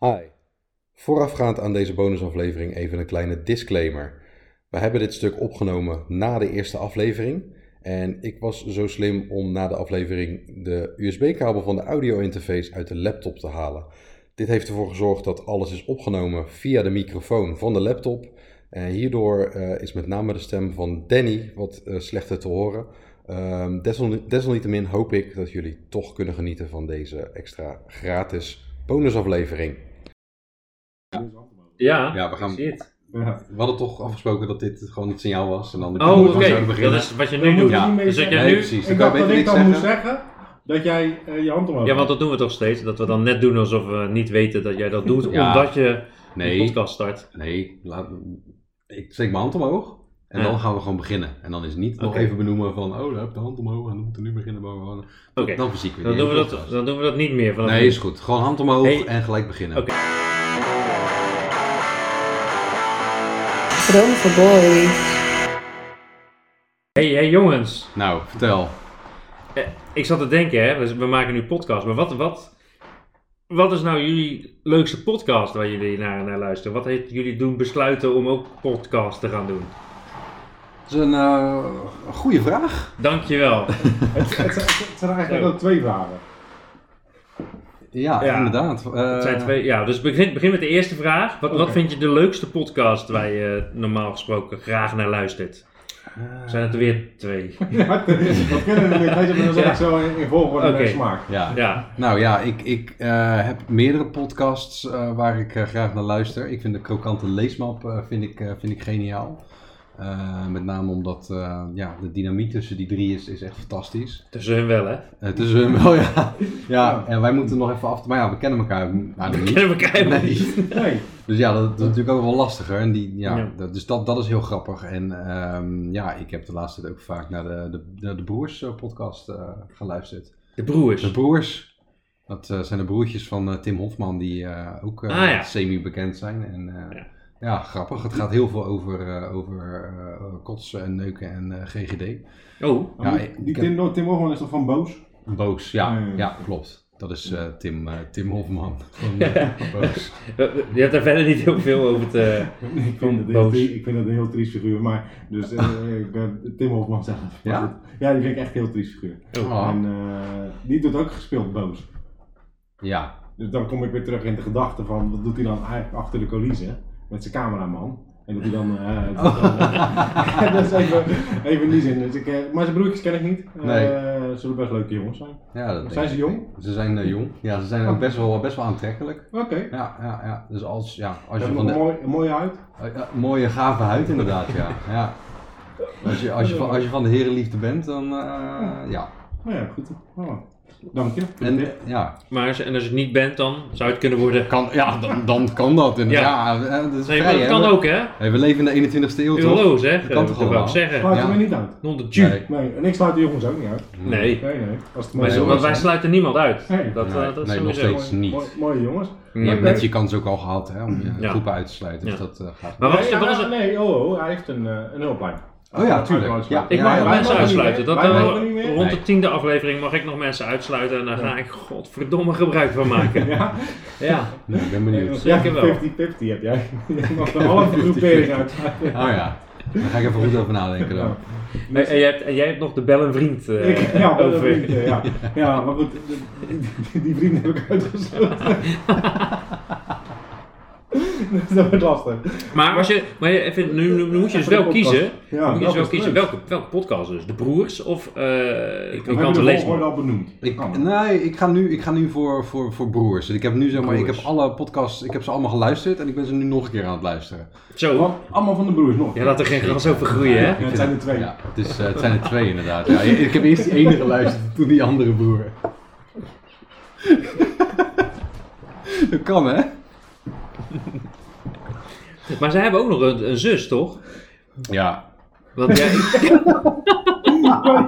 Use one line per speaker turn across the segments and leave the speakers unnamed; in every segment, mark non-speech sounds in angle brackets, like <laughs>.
Hi. Voorafgaand aan deze bonusaflevering even een kleine disclaimer. We hebben dit stuk opgenomen na de eerste aflevering. En ik was zo slim om na de aflevering de USB-kabel van de audio-interface uit de laptop te halen. Dit heeft ervoor gezorgd dat alles is opgenomen via de microfoon van de laptop. En hierdoor eh, is met name de stem van Danny wat eh, slechter te horen. Ehm, desal- desalniettemin hoop ik dat jullie toch kunnen genieten van deze extra gratis bonusaflevering.
Ja,
Ja, we gaan-
ik zie het.
Ja.
We hadden toch afgesproken dat dit gewoon het signaal was. En dan
Oh, oké.
zouden
Dat
beginnen.
is wat je
Dan
nu
moet
doet.
je
Ja.
niet meer
Dus dat
zeggen.
jij
Nee,
nu...
precies. Dan
Ik
kan
dacht
ik beter
dat ik
niks
dan
zeggen.
moest zeggen dat jij eh, je hand omhoog
Ja, want
had.
dat doen we toch steeds. Dat we dan net doen alsof we niet weten dat jij dat doet.
<laughs> Ja.
Omdat je een
Nee,
podcast start.
nee. Laat, ik steek mijn hand omhoog. En
Ja.
dan gaan we gewoon beginnen. En dan is niet nog
Oké.
even benoemen van... Oh, daar heb ik de hand omhoog en we moeten nu beginnen. bla, bla, bla. Dat-
Oké.
Dan verzieken we
Dan
die
doen we,
hele
dat,
podcast.
dan doen we dat niet meer. Vanaf
Nee,
nu.
is goed. Gewoon hand omhoog
Hey.
en gelijk beginnen.
Oké.
Droom voor boys.
hey, hey, jongens.
Nou, vertel.
Ik zat te denken, hè. dus We maken nu podcast. Maar wat, wat, wat is nou jullie leukste podcast waar jullie naar, naar luisteren? Wat heeft jullie doen besluiten om ook podcast te gaan doen?
Dat is een eh, goede vraag.
Dankjewel.
Het, het, het- het zijn eigenlijk
Zo.
ook twee vragen.
Ja,
Ja.
inderdaad. Eh,
Het zijn twee, ja, dus begin, begin met de eerste vraag. Wat, wat
Oké.
vind je de leukste podcast waar je normaal gesproken graag naar luistert?
eh,
Zijn het er weer twee?
<laughs> Ja, we kennen het niet, weet je, maar dan zeg
Ja.
ik zo in, in volgorde
Oké.
en smaak.
ja.
Ja,
Nou ja, ik, ik eh, heb meerdere podcasts eh, waar ik eh, graag naar luister. Ik vind de krokante leesmap eh, vind ik, eh, vind ik geniaal. Eh, met name omdat eh, ja, de dynamiek tussen die drie is, is echt fantastisch.
tussen hun
<laughs>
wel, hè?
Eh, tussen hun wel, ja. ja. En wij moeten nog even af... Maar ja, we kennen elkaar eigenlijk niet.
Kennen we elkaar helemaal niet.
Nee.
Nee,
Dus ja, dat, dat is natuurlijk ook wel lastiger. En die, ja,
Ja.
dat- dus dat, dat is heel grappig. En ehm, ja, ik heb de laatste tijd ook vaak naar de, de, de, de Broers eh, podcast eh, geluisterd.
De broers.
De Broers, dat eh, zijn de broertjes van eh, Tim Hofman die eh, ook eh,
Ah, ja.
semi-bekend zijn. En eh,
Ja.
ja. grappig. Het gaat heel veel over, eh, over eh, kotsen en neuken en eh, GGD.
Oh,
Maar die-
ik-
die
ik heb-
Tim, Tim Hofman is toch van boos? <laughs>
Boos, ja,
Ah, ja.
ja klopt. Dat is eh, Tim, eh, Tim Hofman van <laughs> eh, Boos.
je hebt daar verder niet heel veel over te...
Nee, ik,
Van
vind dat,
Boos.
boos. ik vind dat een heel triest figuur, maar dus, eh, ik ben Tim Hofman zelf. Maar
Ja?
goed. ja, die vind ik echt een heel triest figuur.
Oh,
En eh, die doet ook gespeeld boos.
ja,
Dus dan kom ik weer terug in de gedachte van wat doet hij dan eigenlijk achter de coulissen met zijn cameraman. En dat hij dan. eh,
Oh.
dat hij dan, eh, <laughs> dat is even, even in die zin. Dus ik, eh, maar zijn broertjes ken ik niet. Eh,
Nee.
zullen best leuke jongens zijn.
Ja, dat
Zijn
denk
ze
ik.
jong?
Ze zijn eh, jong. Ja, ze zijn ook best wel, best wel aantrekkelijk.
Oké. Okay.
Ja, ja, ja. Dus als, ja, als
Ze
je
hebben
van
nog
de,
mooi, een mooie huid.
eh, ja, mooie, gave huid inderdaad, ja. ja. Als, je, als, je van, als je van de herenliefde bent, dan eh, ja.
Nou ja, goed. Oh, dank je. voor de
En,
tip.
ja.
Maar als, en als het niet bent, dan zou het kunnen worden...
Kan, ja dan, dan kan dat. En,
Ja.
ja. eh, dat is
Nee, maar
vrij,
dat
hè.
kan
we,
ook, hè?
Hey, we leven in de 21ste eeuw, toch?
Euro's, hè?
kan toch
wou ik
allemaal?
zeggen.
Sluit
Ja.
hem er niet uit.
Non de Jew.
Nee.
Nee, en ik sluit de jongens ook niet uit.
Nee.
Nee, nee. Als het
Wij,
mooie
zo-
want
jongens
wij
zijn.
sluiten niemand uit.
Nee.
Dat, eh,
Nee,
dat is
nee, nog
sowieso.
steeds niet.
Mooi- mooie jongens.
Je hebt
Oké.
net je kans ook al gehad hè, om je
Ja.
groepen uit te sluiten. Dus
Ja.
dat eh, gaat
Maar wat is,
nee,
wat is
ja,
het...
nee, oh, oh, hij heeft een, eh, een hulplijn.
Oh ja, tuurlijk.
Uitlaat-
Ja,
Ik
ja,
mag
ja,
nog
wij
mensen
mogen niet
uitsluiten.
meer.
Dat,
Wij
eh,
mogen niet meer.
rond de
Nee.
tiende aflevering mag ik nog mensen uitsluiten en daar ga ik godverdomme gebruik van maken.
Ja.
Ja.
Nee, ik ben benieuwd.
Ja,
Zeker wel.
50-50 heb
<laughs>
jij. Je mag er alle groepering uit.
Oh ja, daar ga ik even goed over nadenken dan.
Ja.
En, en jij hebt, en jij hebt nog de Bel en Vriend eh,
<laughs> Ik-
<laughs>
ja, maar dat
over.
vriend, eh, ja. ja, maar goed, de- die, die vrienden heb ik uitgesloten. Dus <laughs> dat wordt lastig.
Maar, als je, maar je- even, nu, nu, nu moet je dus wel
Welke podcast?
kiezen.
Ja,
moet je dus wel
welke
kiezen
is
welke, welke podcast dus? De Broers of eh ik
We
kan
hebben
te
de
lezen.
volgorde al benoemd.
Ik,
Kan.
nee, ik ga nu, ik ga nu voor, voor, voor broers. Ik heb nu zeg maar, ik heb
Broers.
alle podcasts, ik heb ze allemaal geluisterd en ik ben ze nu nog een keer aan het luisteren.
Zo.
Wat? Allemaal van de broers nog. <laughs>
Ja, laat er geen gras over groeien, hè?
Ik vind
het zijn
het-
er twee.
Ja, het, is, eh, het zijn er twee inderdaad. Ja, ik ik heb eerst die ene geluisterd, toen die andere broer. Dat kan hè?
Maar ze hebben ook nog een, een zus, toch?
Ja.
Want jij... Ja,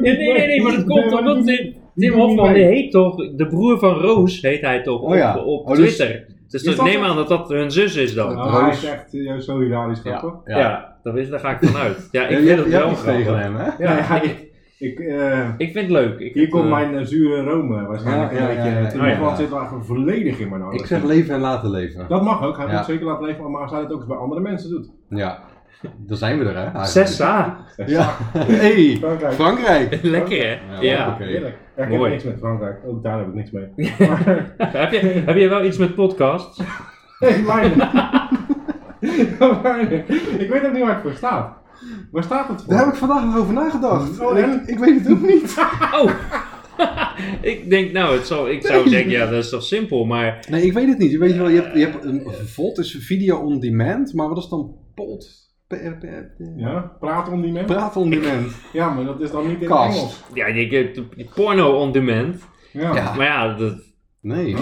nee, nee, nee, maar dat komt omdat Tim, Tim Hofman die heet toch, de broer van Roos heet hij toch
Oh ja.
op, op
Oh, dus-
Twitter. Dus
Is
dat-
dat
neem
het?
aan dat dat hun zus is dan.
Ja.
Nou, hij is
Roos.
echt eh, zo hilarisch grappig.
Ja, dat is, daar ga ik vanuit. Ja, ik
Je,
vind
je,
het
je
wel
hebt iets tegen
grappig.
hem hè?
Ja, ja, ik, Ik, eh,
Ik vind het leuk. Ik
hier
vind,
komt
eh,
<laughs>
mijn eh, zure Rome waarschijnlijk
Ja,
een
ja,
beetje.
ja, ja,
in
ja,
ieder geval
ja.
zit er eigenlijk volledig in mijn ogen.
Ik zeg leven en laten leven.
Dat mag ook, hij moet
Ja.
het zeker laten leven, maar als hij dat ook eens bij andere mensen doet.
Ja, dan zijn we er, hè? eigenlijk.
Sessa.
Ja. Hey,
Frankrijk.
Frankrijk!
<laughs> Lekker hè?
Ja,
Ja.
oké.
Heerlijk. Ja, ik heb
Mooi.
niks met Frankrijk, ook daar heb ik niks mee. Maar,
Heb, je, heb je wel iets met podcasts?
hey, Leiden. <laughs> Leiden. ik weet ook niet waar het voor staat. Waar staat het voor?
Daar heb ik vandaag nog over nagedacht.
Oh,
ik,
en?
ik weet het ook niet.
Oh! ik denk, nou, het zal, ik zou denken, ja, dat is toch simpel, maar
<laughs> Nee, ik weet het niet. Je weet wel, je hebt, je hebt een VOD is video on demand, maar wat is dan pod? P- p- p-
Ja, praat om die mensen.
Praat on demand.
Ja, maar dat is dan niet in
Kast.
Engels.
ja, je hebt porno on demand.
Ja.
Ja.
Maar ja, dat,
Nee.
Ja.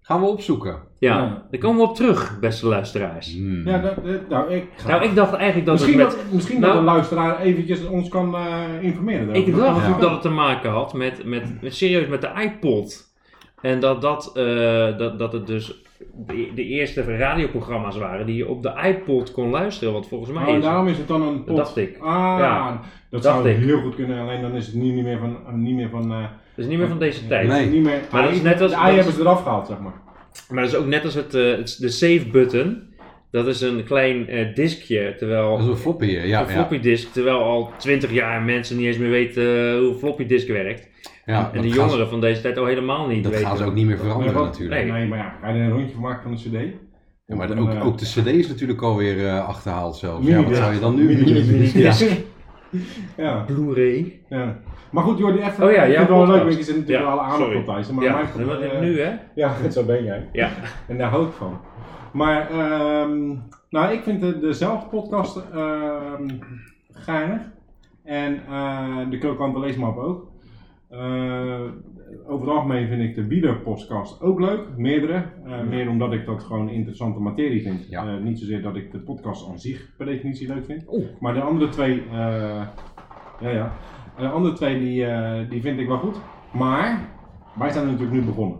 Gaan we opzoeken.
ja,
Ja.
daar komen we op terug, beste luisteraars.
Hmm.
Ja, dat, dat- nou, ik ga-
Nou, ik dacht eigenlijk dat
misschien
het
dat,
met...
misschien
Nou.
dat de luisteraar eventjes ons kan eh, informeren.
Ik
daarover.
dacht
Ja.
dat het te maken had met, met, met serieus met de iPod. En dat, dat, eh, dat, dat het dus de, de eerste radioprogramma's waren die je op de iPod kon luisteren. Want volgens mij
Oh, en
is
daarom is het dan een pot.
Dat dacht ik.
Ah,
Ja,
dat
dacht
zou
ik.
heel goed kunnen, alleen dan is het niet, niet meer van... eh, Niet meer van eh,
dat is niet meer van deze tijd.
Nee. Oh,
Niet meer,
Maar dat is net als-
De
dat
ei
is-
hebben ze eraf gehaald, zeg maar.
Maar dat is ook net als het, eh, het- de save button. Dat is een klein eh, diskje, terwijl
Dat is een floppy hier. Ja,
een floppy disk, terwijl al 20 jaar mensen niet eens meer weten eh, hoe een floppy disk werkt.
ja. ja
en
dat
de
gaan ze-
jongeren van deze tijd al helemaal niet
Dat
weten.
gaan ze ook niet meer veranderen
Nee, want-
natuurlijk.
Nee.
Nee, maar ja, ga je er een rondje van maken van de cd?
Ja, maar
Of
ook,
een, eh,
ook de cd is natuurlijk alweer eh, achterhaald zelfs. Ja, wat
minidisc.
zou je dan nu
Minidisc.
Ja.
Ja,
Blu-ray.
ja. Maar goed, Jordi, even...
Oh ja,
ik
jouw
vind het wel leuk,
podcast.
want je zit natuurlijk
Ja,
wel aandacht
sorry.
op wijzen, maar
Ja,
mijn
dat wil ik
eh,
nu hè?
Ja, <laughs> zo ben jij.
Ja.
En daar hou ik van. Maar, ehm, nou, ik vind de, de zelfpodcast ehm, geinig. En eh, de krokante leesmap ook. Eh, over het algemeen vind ik de biederpodcast ook leuk. Meerdere. Eh, meer omdat ik dat gewoon interessante materie vind.
Ja.
Eh, niet zozeer dat ik de podcast aan zich per definitie leuk vind.
Oeh.
Maar de andere twee, eh, ja, ja. De andere twee die, eh, die vind ik wel goed. Maar wij zijn er natuurlijk nu begonnen.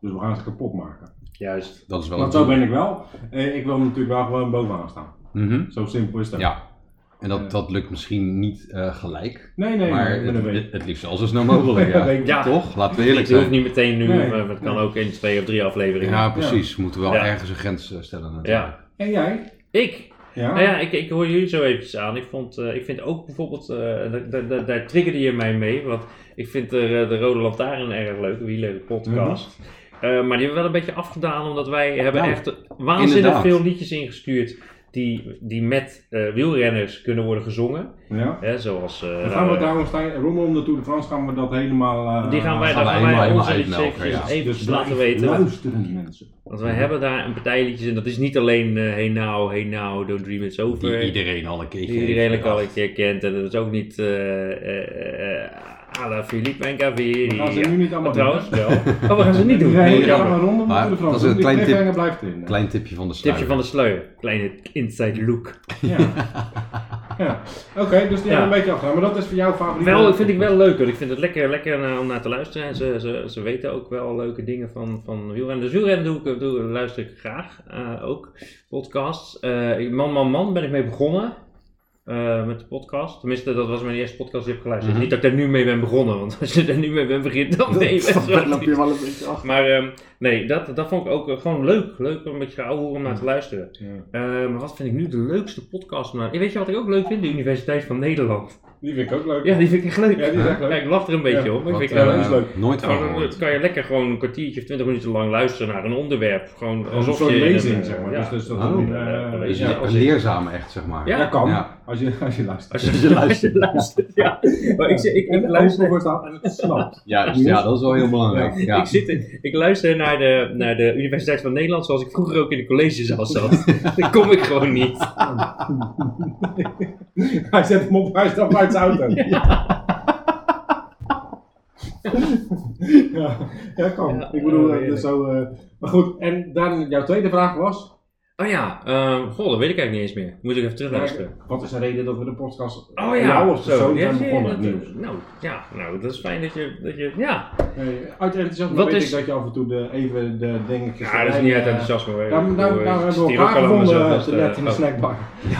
Dus we gaan ze kapot maken.
Juist.
Dat is wel
Want
een
zo ben ik wel. Eh, ik wil natuurlijk wel gewoon bovenaan staan.
Mhm.
Zo simpel is dat.
Ja. En dat, dat lukt misschien niet eh, gelijk.
Nee, nee,
maar
nee, ik ben
het,
er mee.
het, het liefst al zo snel mogelijk. Ja.
<laughs> Ja.
Ja.
Toch? Laten we eerlijk
Het hoeft
zijn.
niet meteen nu,
Nee.
maar het kan ook in twee of drie afleveringen.
Ja, precies. We moeten wel
Ja.
ergens een grens eh, stellen natuurlijk.
Ja.
En jij?
Ik
Ja.
Nou ja, ik, ik hoor jullie zo eventjes aan. Ik, vond, eh, ik vind ook bijvoorbeeld, eh, da- da- da- daar triggerde je mij mee, want ik vind de, de Rode Lantaarn erg leuk, een leuke podcast. Eh, maar die hebben we wel een beetje afgedaan, omdat wij hebben
Nou,
echt waanzinnig
inderdaad.
veel liedjes ingestuurd die, die met eh, wielrenners kunnen worden gezongen.
Ja.
Hè, zoals, eh,
Dan
nou,
gaan we
eh,
trouwens tij- rondom de Tour de France gaan we dat helemaal... eh,
die gaan wij,
gaan wij
daar gaan wij
helemaal
onze liedjes
uitmelken,
eventjes,
ja.
eventjes
dus
laten
blijf
weten.
luisteren mensen.
Want wij hebben daar een partij liedjes en dat is niet alleen eh Hey Now, Hey Now, Don't Dream It's Over.
Die iedereen al een keertje
eh, Die
heeft
iedereen al een
bedacht.
keer kent. En dat is ook niet eh eh eh à la Philippe en Caveri.
We gaan ze nu niet
Maar
allemaal
trouwens wel. Oh, we gaan ze niet doen.
Nee, we gaan
jammer.
maar rondom de
Maar
Tour de France.
dat is een
Die
klein tip.
cliffhanger blijft erin.
Klein tipje van de
Tipje
sluier.
van de sleur. Kleine inside look.
Ja. ja. Oké, dus die
Ja.
hebben we een beetje afgedaan. Maar dat is voor jou favoriet.
Wel, vind ik wel leuk hoor. Ik vind het lekker, lekker eh, om naar te luisteren. En ze, ze, ze weten ook wel leuke dingen van, van wielrennen. Dus wielrennen doe ik, doe, luister ik graag. eh, ook podcasts. Eh, ik- man, man, man ben ik mee begonnen. eh, met de podcast. Tenminste, dat was mijn eerste podcast die ik heb geluisterd.
Mhm.
Niet dat ik er nu mee ben begonnen, want als je er nu mee bent begint, dan ben je best wel
loop je wel een beetje achter.
Maar ehm, nee, dat, dat vond ik ook eh, gewoon leuk. Leuk om een beetje ouwe hoer om naar te luisteren.
Ja.
Eh, maar wat vind ik nu de leukste podcast? om naar- Weet je wat ik ook leuk vind? De Universiteit van Nederland.
Die vind ik ook leuk.
Ja, die vind ik echt leuk.
Ja, die is echt leuk.
Ja, ik lach er een beetje
Ja,
op. maar ik
Wat,
vind
Ja,
het
eh,
dat is leuk.
Nooit van
gewoon- gewoon-
gehoord.
dan kan je lekker gewoon een kwartiertje of twintig minuten lang luisteren naar een onderwerp. Gewoon
Als een
alsof
soort
je... in een,
lezing,
eh,
zeg maar.
ja.
Dus, dus dat
Oh.
dat- eh,
Ja,
Dus
ja,
een-
als
een
ik-
leerzaam echt, zeg maar.
Ja.
dat kan,
Ja.
als, je, als je luistert.
Als je <laughs> luistert. luistert, ja. Maar ik, zit- ik, ik
en
luister...
luister voor staat en het snapt.
Juist, ja, dat is wel heel belangrijk. Ja.
Ik, zit in- ik luister naar de, naar de Universiteit van Nederland zoals ik vroeger ook in de collegezaal
<laughs>
zat. Daar kom ik gewoon niet.
hij zet hem op, hij stapt uit zijn auto. Ja. ja, kan.
Ja.
ik bedoel,
Oh,
dat is
heerlijk.
eh, zo... eh, maar goed, en dan jouw tweede vraag was?
Oh ja, ehm goh, dat weet ik eigenlijk niet eens meer. Moet ik even terugluisteren.
Eh, Wat is de reden dat we de podcast
Oh ja,
jou als persoon
Ja,
zijn
ja, ja,
begonnen?
dat-
Niels?
Nou, ja, nou, dat is fijn dat je, dat je ja.
Nee, Eh, uit enthousiasme
Wat
weet
is-
ik dat je af en toe de, even de dingetjes...
Ja, dat is
erbij,
niet uit
eh,
enthousiasme. hoor.
Nou,
Ik
nou,
bedoel,
nou
ik
hebben we
stier ook
elkaar
allemaal
gevonden
mezelf,
eh, te
dus,
net in de
eh, oh.
snackbar.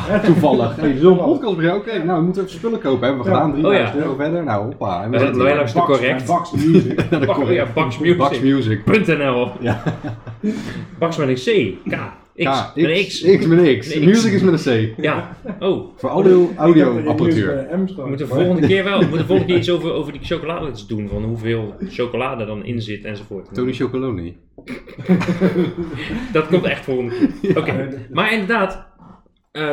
Ja, toevallig. Hey, Zo'n podcast brengen. Oké, nou, we moeten even spullen kopen. Hebben we
Ja.
gedaan.
Oh ja.
3000 euro verder. Nou, hoppa. En
We zitten
hier.
heel erg- Is dat
Bax-
correct?
Bax Music.
Ja, dat
Bak-
correct.
<laughs> oh ja, Bax Music.
Bax Music.
.nl.
Ja.
Bax met een C, K, X,
Ja,
met een
X. X met een X.
Een X.
Music is met een C.
Ja, oh,
Voor audio, audio
Ik
apparatuur.
heb er in Niels bij de M staan.
we moeten de volgende keer wel, we moeten de volgende keer iets over, over die chocoladeletters doen, van hoeveel chocolade er dan in zit enzovoort.
Tony Chocoloni.
Dat komt echt volgende keer. Oké,
Ja.
maar inderdaad, eh,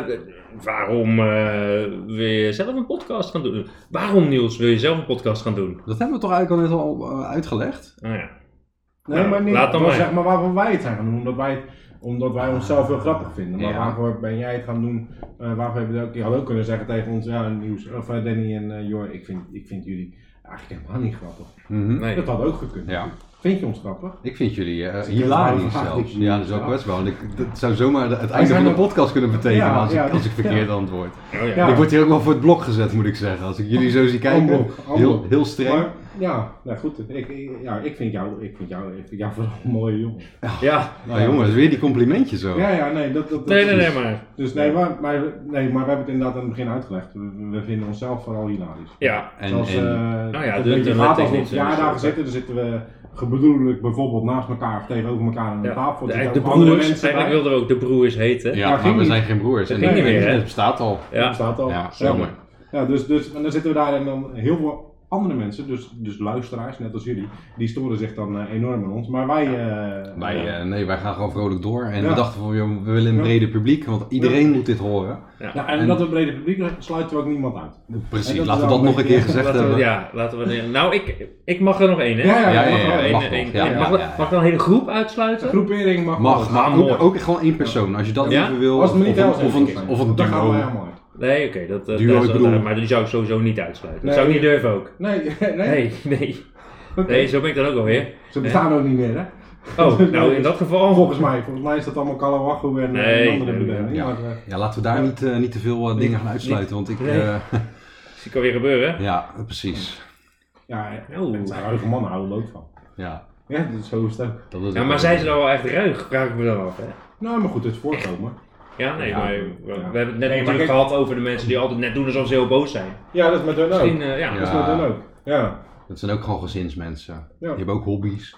waarom eh, wil je zelf een podcast gaan doen? Waarom Niels wil je zelf een podcast gaan doen?
Dat hebben we toch eigenlijk al net al eh, uitgelegd?
Nou ja,
Nee,
Nou,
maar niet.
laat dan
dat
maar.
zeg maar waarom wij het zijn gaan doen. Omdat wij, het- omdat wij onszelf heel grappig vinden. Maar
Ja.
waarvoor ben jij het gaan doen? Eh, waarvoor heb je ook keer hallo kunnen zeggen tegen ons? Ja, nieuws. Of eh, Danny en eh Jor, ik vind, ik vind jullie eigenlijk helemaal niet grappig.
Mhm.
nee.
Dat had ook gekund.
Ja.
Vind je ons grappig?
Ik vind jullie eh,
ik
hilarisch
heb wel
zelfs.
gevraagd.
Ja, dat is ook
Ja.
best wel. En ik, dat zou zomaar de- het einde
zijn
van de
ook-
podcast kunnen betekenen
Ja,
als, ik,
ja,
als ik
dat-
verkeerd antwoord.
Oh ja.
Ja.
Ik word hier ook wel voor het blok gezet, moet ik zeggen. Als ik jullie zo zie
Allemaal,
kijken, heel,
allemaal.
heel streng.
Maar, ja, nou goed. Ik, ik- ja, ik vind jou, ik vind jou, ik vind jou vooral een mooie jongen.
Ja.
nou jongen, dat is weer die complimentjes zo.
Ja, ja, nee. Dat, dat, dat
Nee, nee,
is-
nee, maar.
Dus nee maar, maar, nee, maar we hebben het inderdaad aan het begin uitgelegd. We, we- we vinden onszelf vooral hilarisch.
Ja.
En,
Zoals,
en-
eh
Nou ja,
het
de-
een beetje
de dus-
gaat
wet
als
is
we op
niet zo
verjaardagen
slecht, hè?
zitten, dan zitten we gebroedelijk bijvoorbeeld naast elkaar of tegenover elkaar aan de
Ja.
tafel. Er
De,
zitten
de
ook andere
broers,
mensen
eigenlijk
bij.
wilden we ook de broers heten.
ja,
ja,
maar
ging
we
niet.
zijn geen broers.
eh,
En
Dat ging
ik-
niet meer, hè?
Het bestaat al.
Dat
Ja.
staat al.
Ja, zomaar.
Ja, dus, dus en dan zitten we daar en dan heel veel andere mensen, dus, dus luisteraars, net als jullie, die storen zich dan eh, enorm aan ons. Maar wij... eh,
Wij,
ja.
eh, nee, wij gaan gewoon vrolijk door. En
Ja.
we dachten van, joh, we willen een
Ja.
breder publiek, want iedereen moet dit horen.
Ja, en
en-
dat we brede publiek sluiten we ook niemand uit.
Precies,
En dat
laten
is
we dat
wel een
nog een
beetje-
keer gezegd
Laten we,
hebben.
ja, laten we. Nou, ik, ik mag er nog één, hè?
eh, Ja,
ja,
ja,
ja, ja,
ja.
Eén,
mag
één,
nog,
één.
ja,
mag,
ja, ja.
mag ik dan een hele groep uitsluiten?
Groepering mag
Mag,
wel.
maar
mooi.
ook, ook gewoon één persoon. Als je dat
Ja?
even wil.
Als het
of-
niet
of,
zelfs
een- of een,
zijn.
of een
Dan gaan
duo.
we helemaal uit.
Nee, oké, dat, dat,
Duo,
dat is
ik
wel-
bedoel-
maar die zou ik sowieso niet uitsluiten.
Nee.
dat zou ik niet durven ook.
Nee, <laughs> nee.
Nee, <laughs> nee.
Oké.
Nee, zo ben ik dan ook alweer.
Ze bestaan ook niet meer, hè? <laughs>
Oh, nou in dat geval.
Volgens mij, volgens mij is dat allemaal Kalawachu en eh,
Nee,
een andere
nee,
benaming.
ja.
Maar, eh,
Ja, laten we daar niet, eh, niet te veel eh, dingen gaan uitsluiten. Want ik.
Nee.
eh,
Dat kan weer gebeuren. Nou.
ja, precies.
ja, ja,
Oeh.
het zijn huidige mannen houden er ook van.
Ja,
Ja, dat is zo is het ook.
dat is
Ja,
ook-
maar zijn ze nou wel echt ruig? Vraag ik me dan af. Hè?
Nou, maar goed, het is voorkomen.
Ja, nee,
Ja.
maar we, we
Ja.
hebben het net
Nee, maar
natuurlijk
kijk-
gehad over de mensen die altijd net doen alsof ze heel boos zijn.
Ja, dat is met hun ook.
Misschien, eh, ja.
Dat is met hun ook. Ja.
Dat zijn ook gewoon gezinsmensen. Die
Ja.
hebben ook hobby's.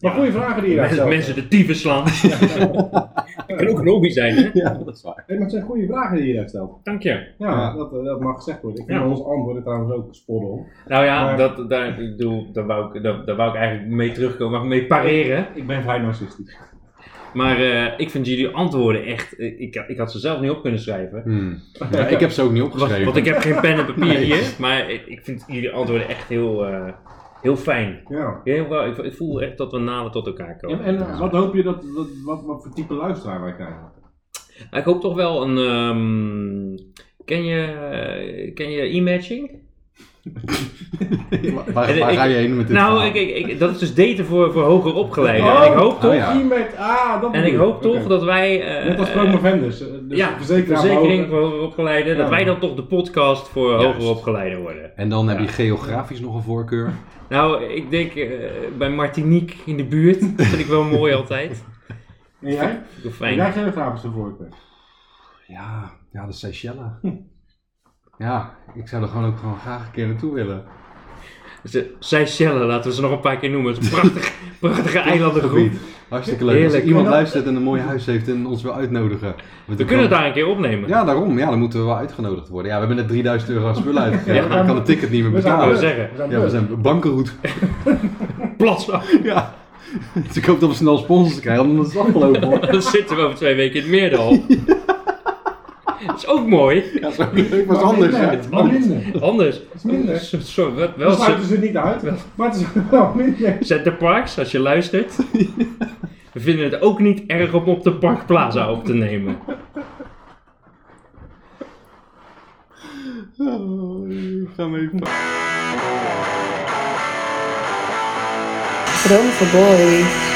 Maar
Ja.
goede vragen die je daar
Mensen,
stelt.
mensen de tyfus slaan. Dat <laughs> kan ook een hobby zijn, hè?
Ja, dat is waar.
Hey, maar het zijn goede vragen die je daar stelt.
Dank je.
Ja,
Ja.
Dat, eh, dat mag gezegd worden. Ik vind
Ja.
ons antwoord trouwens ook spoddel.
Nou ja,
Maar-
dat, daar, ik bedoel, daar, wou ik, daar, daar wou ik eigenlijk mee terugkomen, maar mee pareren.
Ik ben vrij narcistisch.
Maar eh, ik vind jullie antwoorden echt, eh, ik, ik had ze zelf niet op kunnen schrijven. <laughs>
Hmm. Ja, ik heb ze ook niet
Want,
opgeschreven.
want ik heb geen pen en papier
Nee.
hier, maar ik ik vind jullie antwoorden echt heel, eh, heel fijn.
Ja.
Heel, wel- ik, ik voel echt dat we nader tot elkaar komen.
En, en eh, wat hoop je dat, dat wat, wat voor type luisteraar wij krijgen?
Maar Ik hoop toch wel een, ehm, ken je, eh, ken je e-matching?
<laughs> Waar, waar
En <laughs> ik-
ga je heen met dit?
Nou,
verhaal?
ik, ik, ik- dat is dus daten voor, voor hoger opgeleiden.
Oh.
en ik hoop toch,
Oh, ja.
Iemand, ah, dat
en
bedoel
ik hoop toch
Oké.
dat wij... eh,
Net als promovendus. eh, Dus
ja,
verzekeraar
verzekering
behouden.
voor hoger opgeleiden, dat
Ja.
wij dan toch de podcast voor hoger
Juist.
opgeleiden worden.
En dan heb
Ja.
je geografisch nog een voorkeur.
Nou, ik denk eh, bij Martinique in de buurt, dat vind ik wel mooi altijd.
En jij?
Vind ik wel
En jij
Fijn.
geografische voorkeur.
Ja, ja de
<laughs>
Seychelles. Ja, ik zou er gewoon ook gewoon graag een keer naartoe willen.
Ze- Seychellen, Dus, eh, laten we ze nog een paar keer noemen. Het is een prachtig,
<laughs>
prachtige eilandengroep.
Hartstikke leuk. Als
Heerlijk.
er iemand luistert en een mooi huis heeft en ons wil uitnodigen.
We kunnen het daar een keer opnemen.
Ja, daarom. Ja, dan moeten we wel uitgenodigd worden. Ja, we hebben net 3000 euro aan
<laughs>
spullen uitgegeven.
Ja.
ik kan het ticket niet meer
We zijn
wou
betalen.
beu.
zeggen.
We zijn
Ja,
beu.
we zijn bankenroet. <laughs>
Platslag.
Ja. Dus ik hoop dat we snel sponsors krijgen, anders is het afgelopen hoor.
<laughs> Dan zitten we over twee weken in het meerdal.
<laughs>
Dat is ook mooi.
Ja, zo leuk was
Maar
anders.
minder,
hè?
Maar minder.
Anders.
Het is minder.
Zo- Zo, wat-
We
wel
sluiten ze niet uit, maar het is <laughs> wel minder.
<laughs> Zet de parks, als je luistert. We vinden het ook niet erg om op de parkplaza op te nemen.
Ga maar even.
Droom for boys.